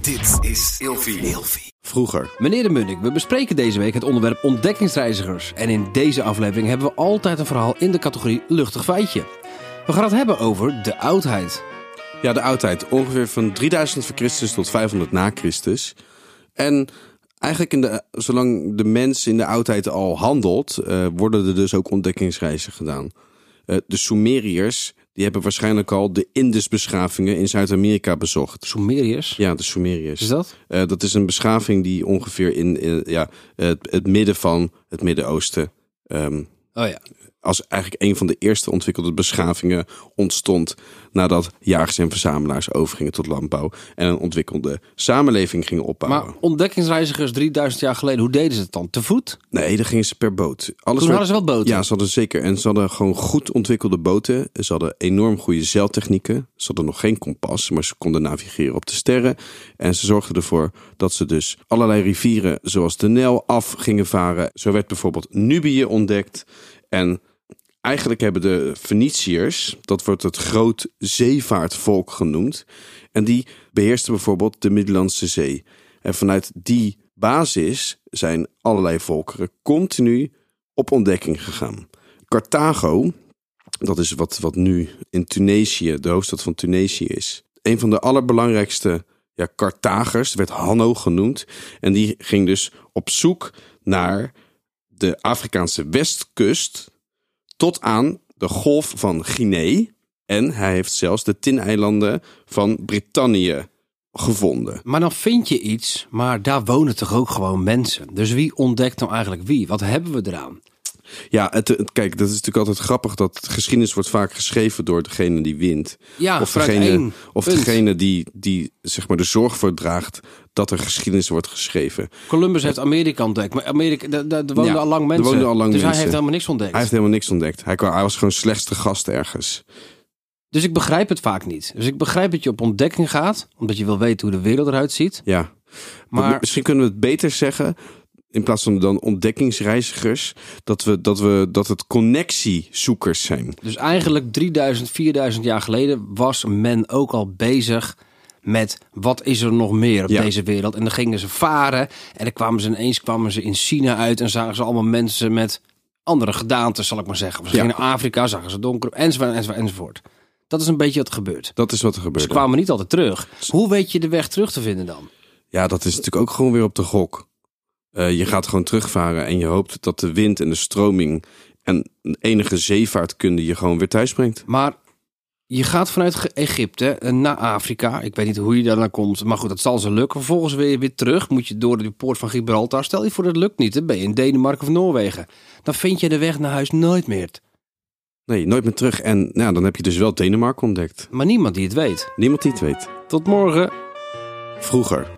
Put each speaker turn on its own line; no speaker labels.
Dit is Ilfi.
Vroeger.
Meneer de Munnik, we bespreken deze week het onderwerp ontdekkingsreizigers. En in deze aflevering hebben we altijd een verhaal in de categorie luchtig feitje. We gaan het hebben over de oudheid.
Ja, de oudheid. Ongeveer van 3000 voor Christus tot 500 na Christus. En eigenlijk, in de, zolang de mens in de oudheid al handelt, eh, worden er dus ook ontdekkingsreizen gedaan. Eh, de Sumeriërs, die hebben waarschijnlijk al de Indusbeschavingen in Zuid-Amerika bezocht.
Sumeriërs,
Ja, de Sumeriërs.
is dat?
Eh, dat is een beschaving die ongeveer in, in, ja, het, het midden van het Midden-Oosten ehm,
Oh ja.
als eigenlijk een van de eerste ontwikkelde beschavingen ontstond nadat jagers en verzamelaars overgingen tot landbouw en een ontwikkelde samenleving gingen opbouwen.
Maar ontdekkingsreizigers 3000 jaar geleden, hoe deden ze het dan? Te voet?
Nee, dan gingen ze per boot. Alles
Toen
werd-
hadden ze wel boten.
Ja, ze hadden zeker. En ze hadden gewoon goed ontwikkelde boten. Ze hadden enorm goede zeiltechnieken. Ze hadden nog geen kompas, maar ze konden navigeren op de sterren. En ze zorgden ervoor dat ze dus allerlei rivieren, zoals de Nijl, af gingen varen. Zo werd bijvoorbeeld Nubië ontdekt. En eigenlijk hebben de Venetiërs, dat wordt het groot zeevaartvolk genoemd. En die beheersten bijvoorbeeld de Middellandse Zee. En vanuit die basis zijn allerlei volkeren continu op ontdekking gegaan. Carthago, dat is wat, wat nu in Tunesië, de hoofdstad van Tunesië is. Een van de allerbelangrijkste ja, Carthagers, werd Hanno genoemd. En die ging dus op zoek naar de Afrikaanse westkust tot aan de golf van Guinea. En hij heeft zelfs de Tin-eilanden van Brittannië gevonden.
Maar dan vind je iets, maar daar wonen toch ook gewoon mensen. Dus wie ontdekt nou eigenlijk wie? Wat hebben we eraan?
Ja, het, het- kijk, dat is natuurlijk altijd grappig dat geschiedenis wordt vaak geschreven door degene die wint.
Ja,
of
vanuit
degene,
één
of
punt.
degene die, die zeg maar, de zorg voor draagt dat er geschiedenis wordt geschreven.
Columbus heeft Amerika ontdekt, maar Amerika, daar, daar- daar woonden
Ja,
al lang
er
mensen.
woonden al lang
dus hij
mensen.
heeft helemaal niks ontdekt.
Hij heeft helemaal niks ontdekt. Hij, kwam, hij was gewoon slechtste gast ergens.
Dus ik begrijp het vaak niet. Dus ik begrijp dat je op ontdekking gaat, omdat je wil weten hoe de wereld eruit ziet.
Ja.
Maar-
Maar misschien kunnen we het beter zeggen. In plaats van dan ontdekkingsreizigers, dat, we, dat, we, dat het connectiezoekers zijn.
Dus eigenlijk 3000, 4000 jaar geleden was men ook al bezig met wat is er nog meer op
Ja.
deze wereld. En dan gingen ze varen en dan kwamen ze ineens kwamen ze in China uit en zagen ze allemaal mensen met andere gedaanten, zal ik maar zeggen. Of ze
Ja.
gingen naar Afrika, zagen ze donker, enzovoort, enzovoort, enzovoort. Dat is een beetje wat er gebeurt.
Dat is wat er
Ze
gebeurde.
kwamen niet altijd terug. Hoe weet je de weg terug te vinden dan?
Ja, dat is natuurlijk ook gewoon weer op de gok. Eh, je gaat gewoon terugvaren en je hoopt dat de wind en de stroming en enige zeevaartkunde je gewoon weer thuis brengt.
Maar je gaat vanuit Ge- Egypte eh, naar Afrika. Ik weet niet hoe je daar naar komt. Maar goed, dat zal ze lukken. Vervolgens wil je weer terug. Moet je door de poort van Gibraltar. Stel je voor dat lukt niet. Dan ben je in Denemarken of Noorwegen. Dan vind je de weg naar huis nooit meer.
Nee, nooit meer terug. En nou, dan heb je dus wel Denemarken ontdekt.
Maar niemand die het weet.
Niemand die het weet.
Tot morgen.
Vroeger.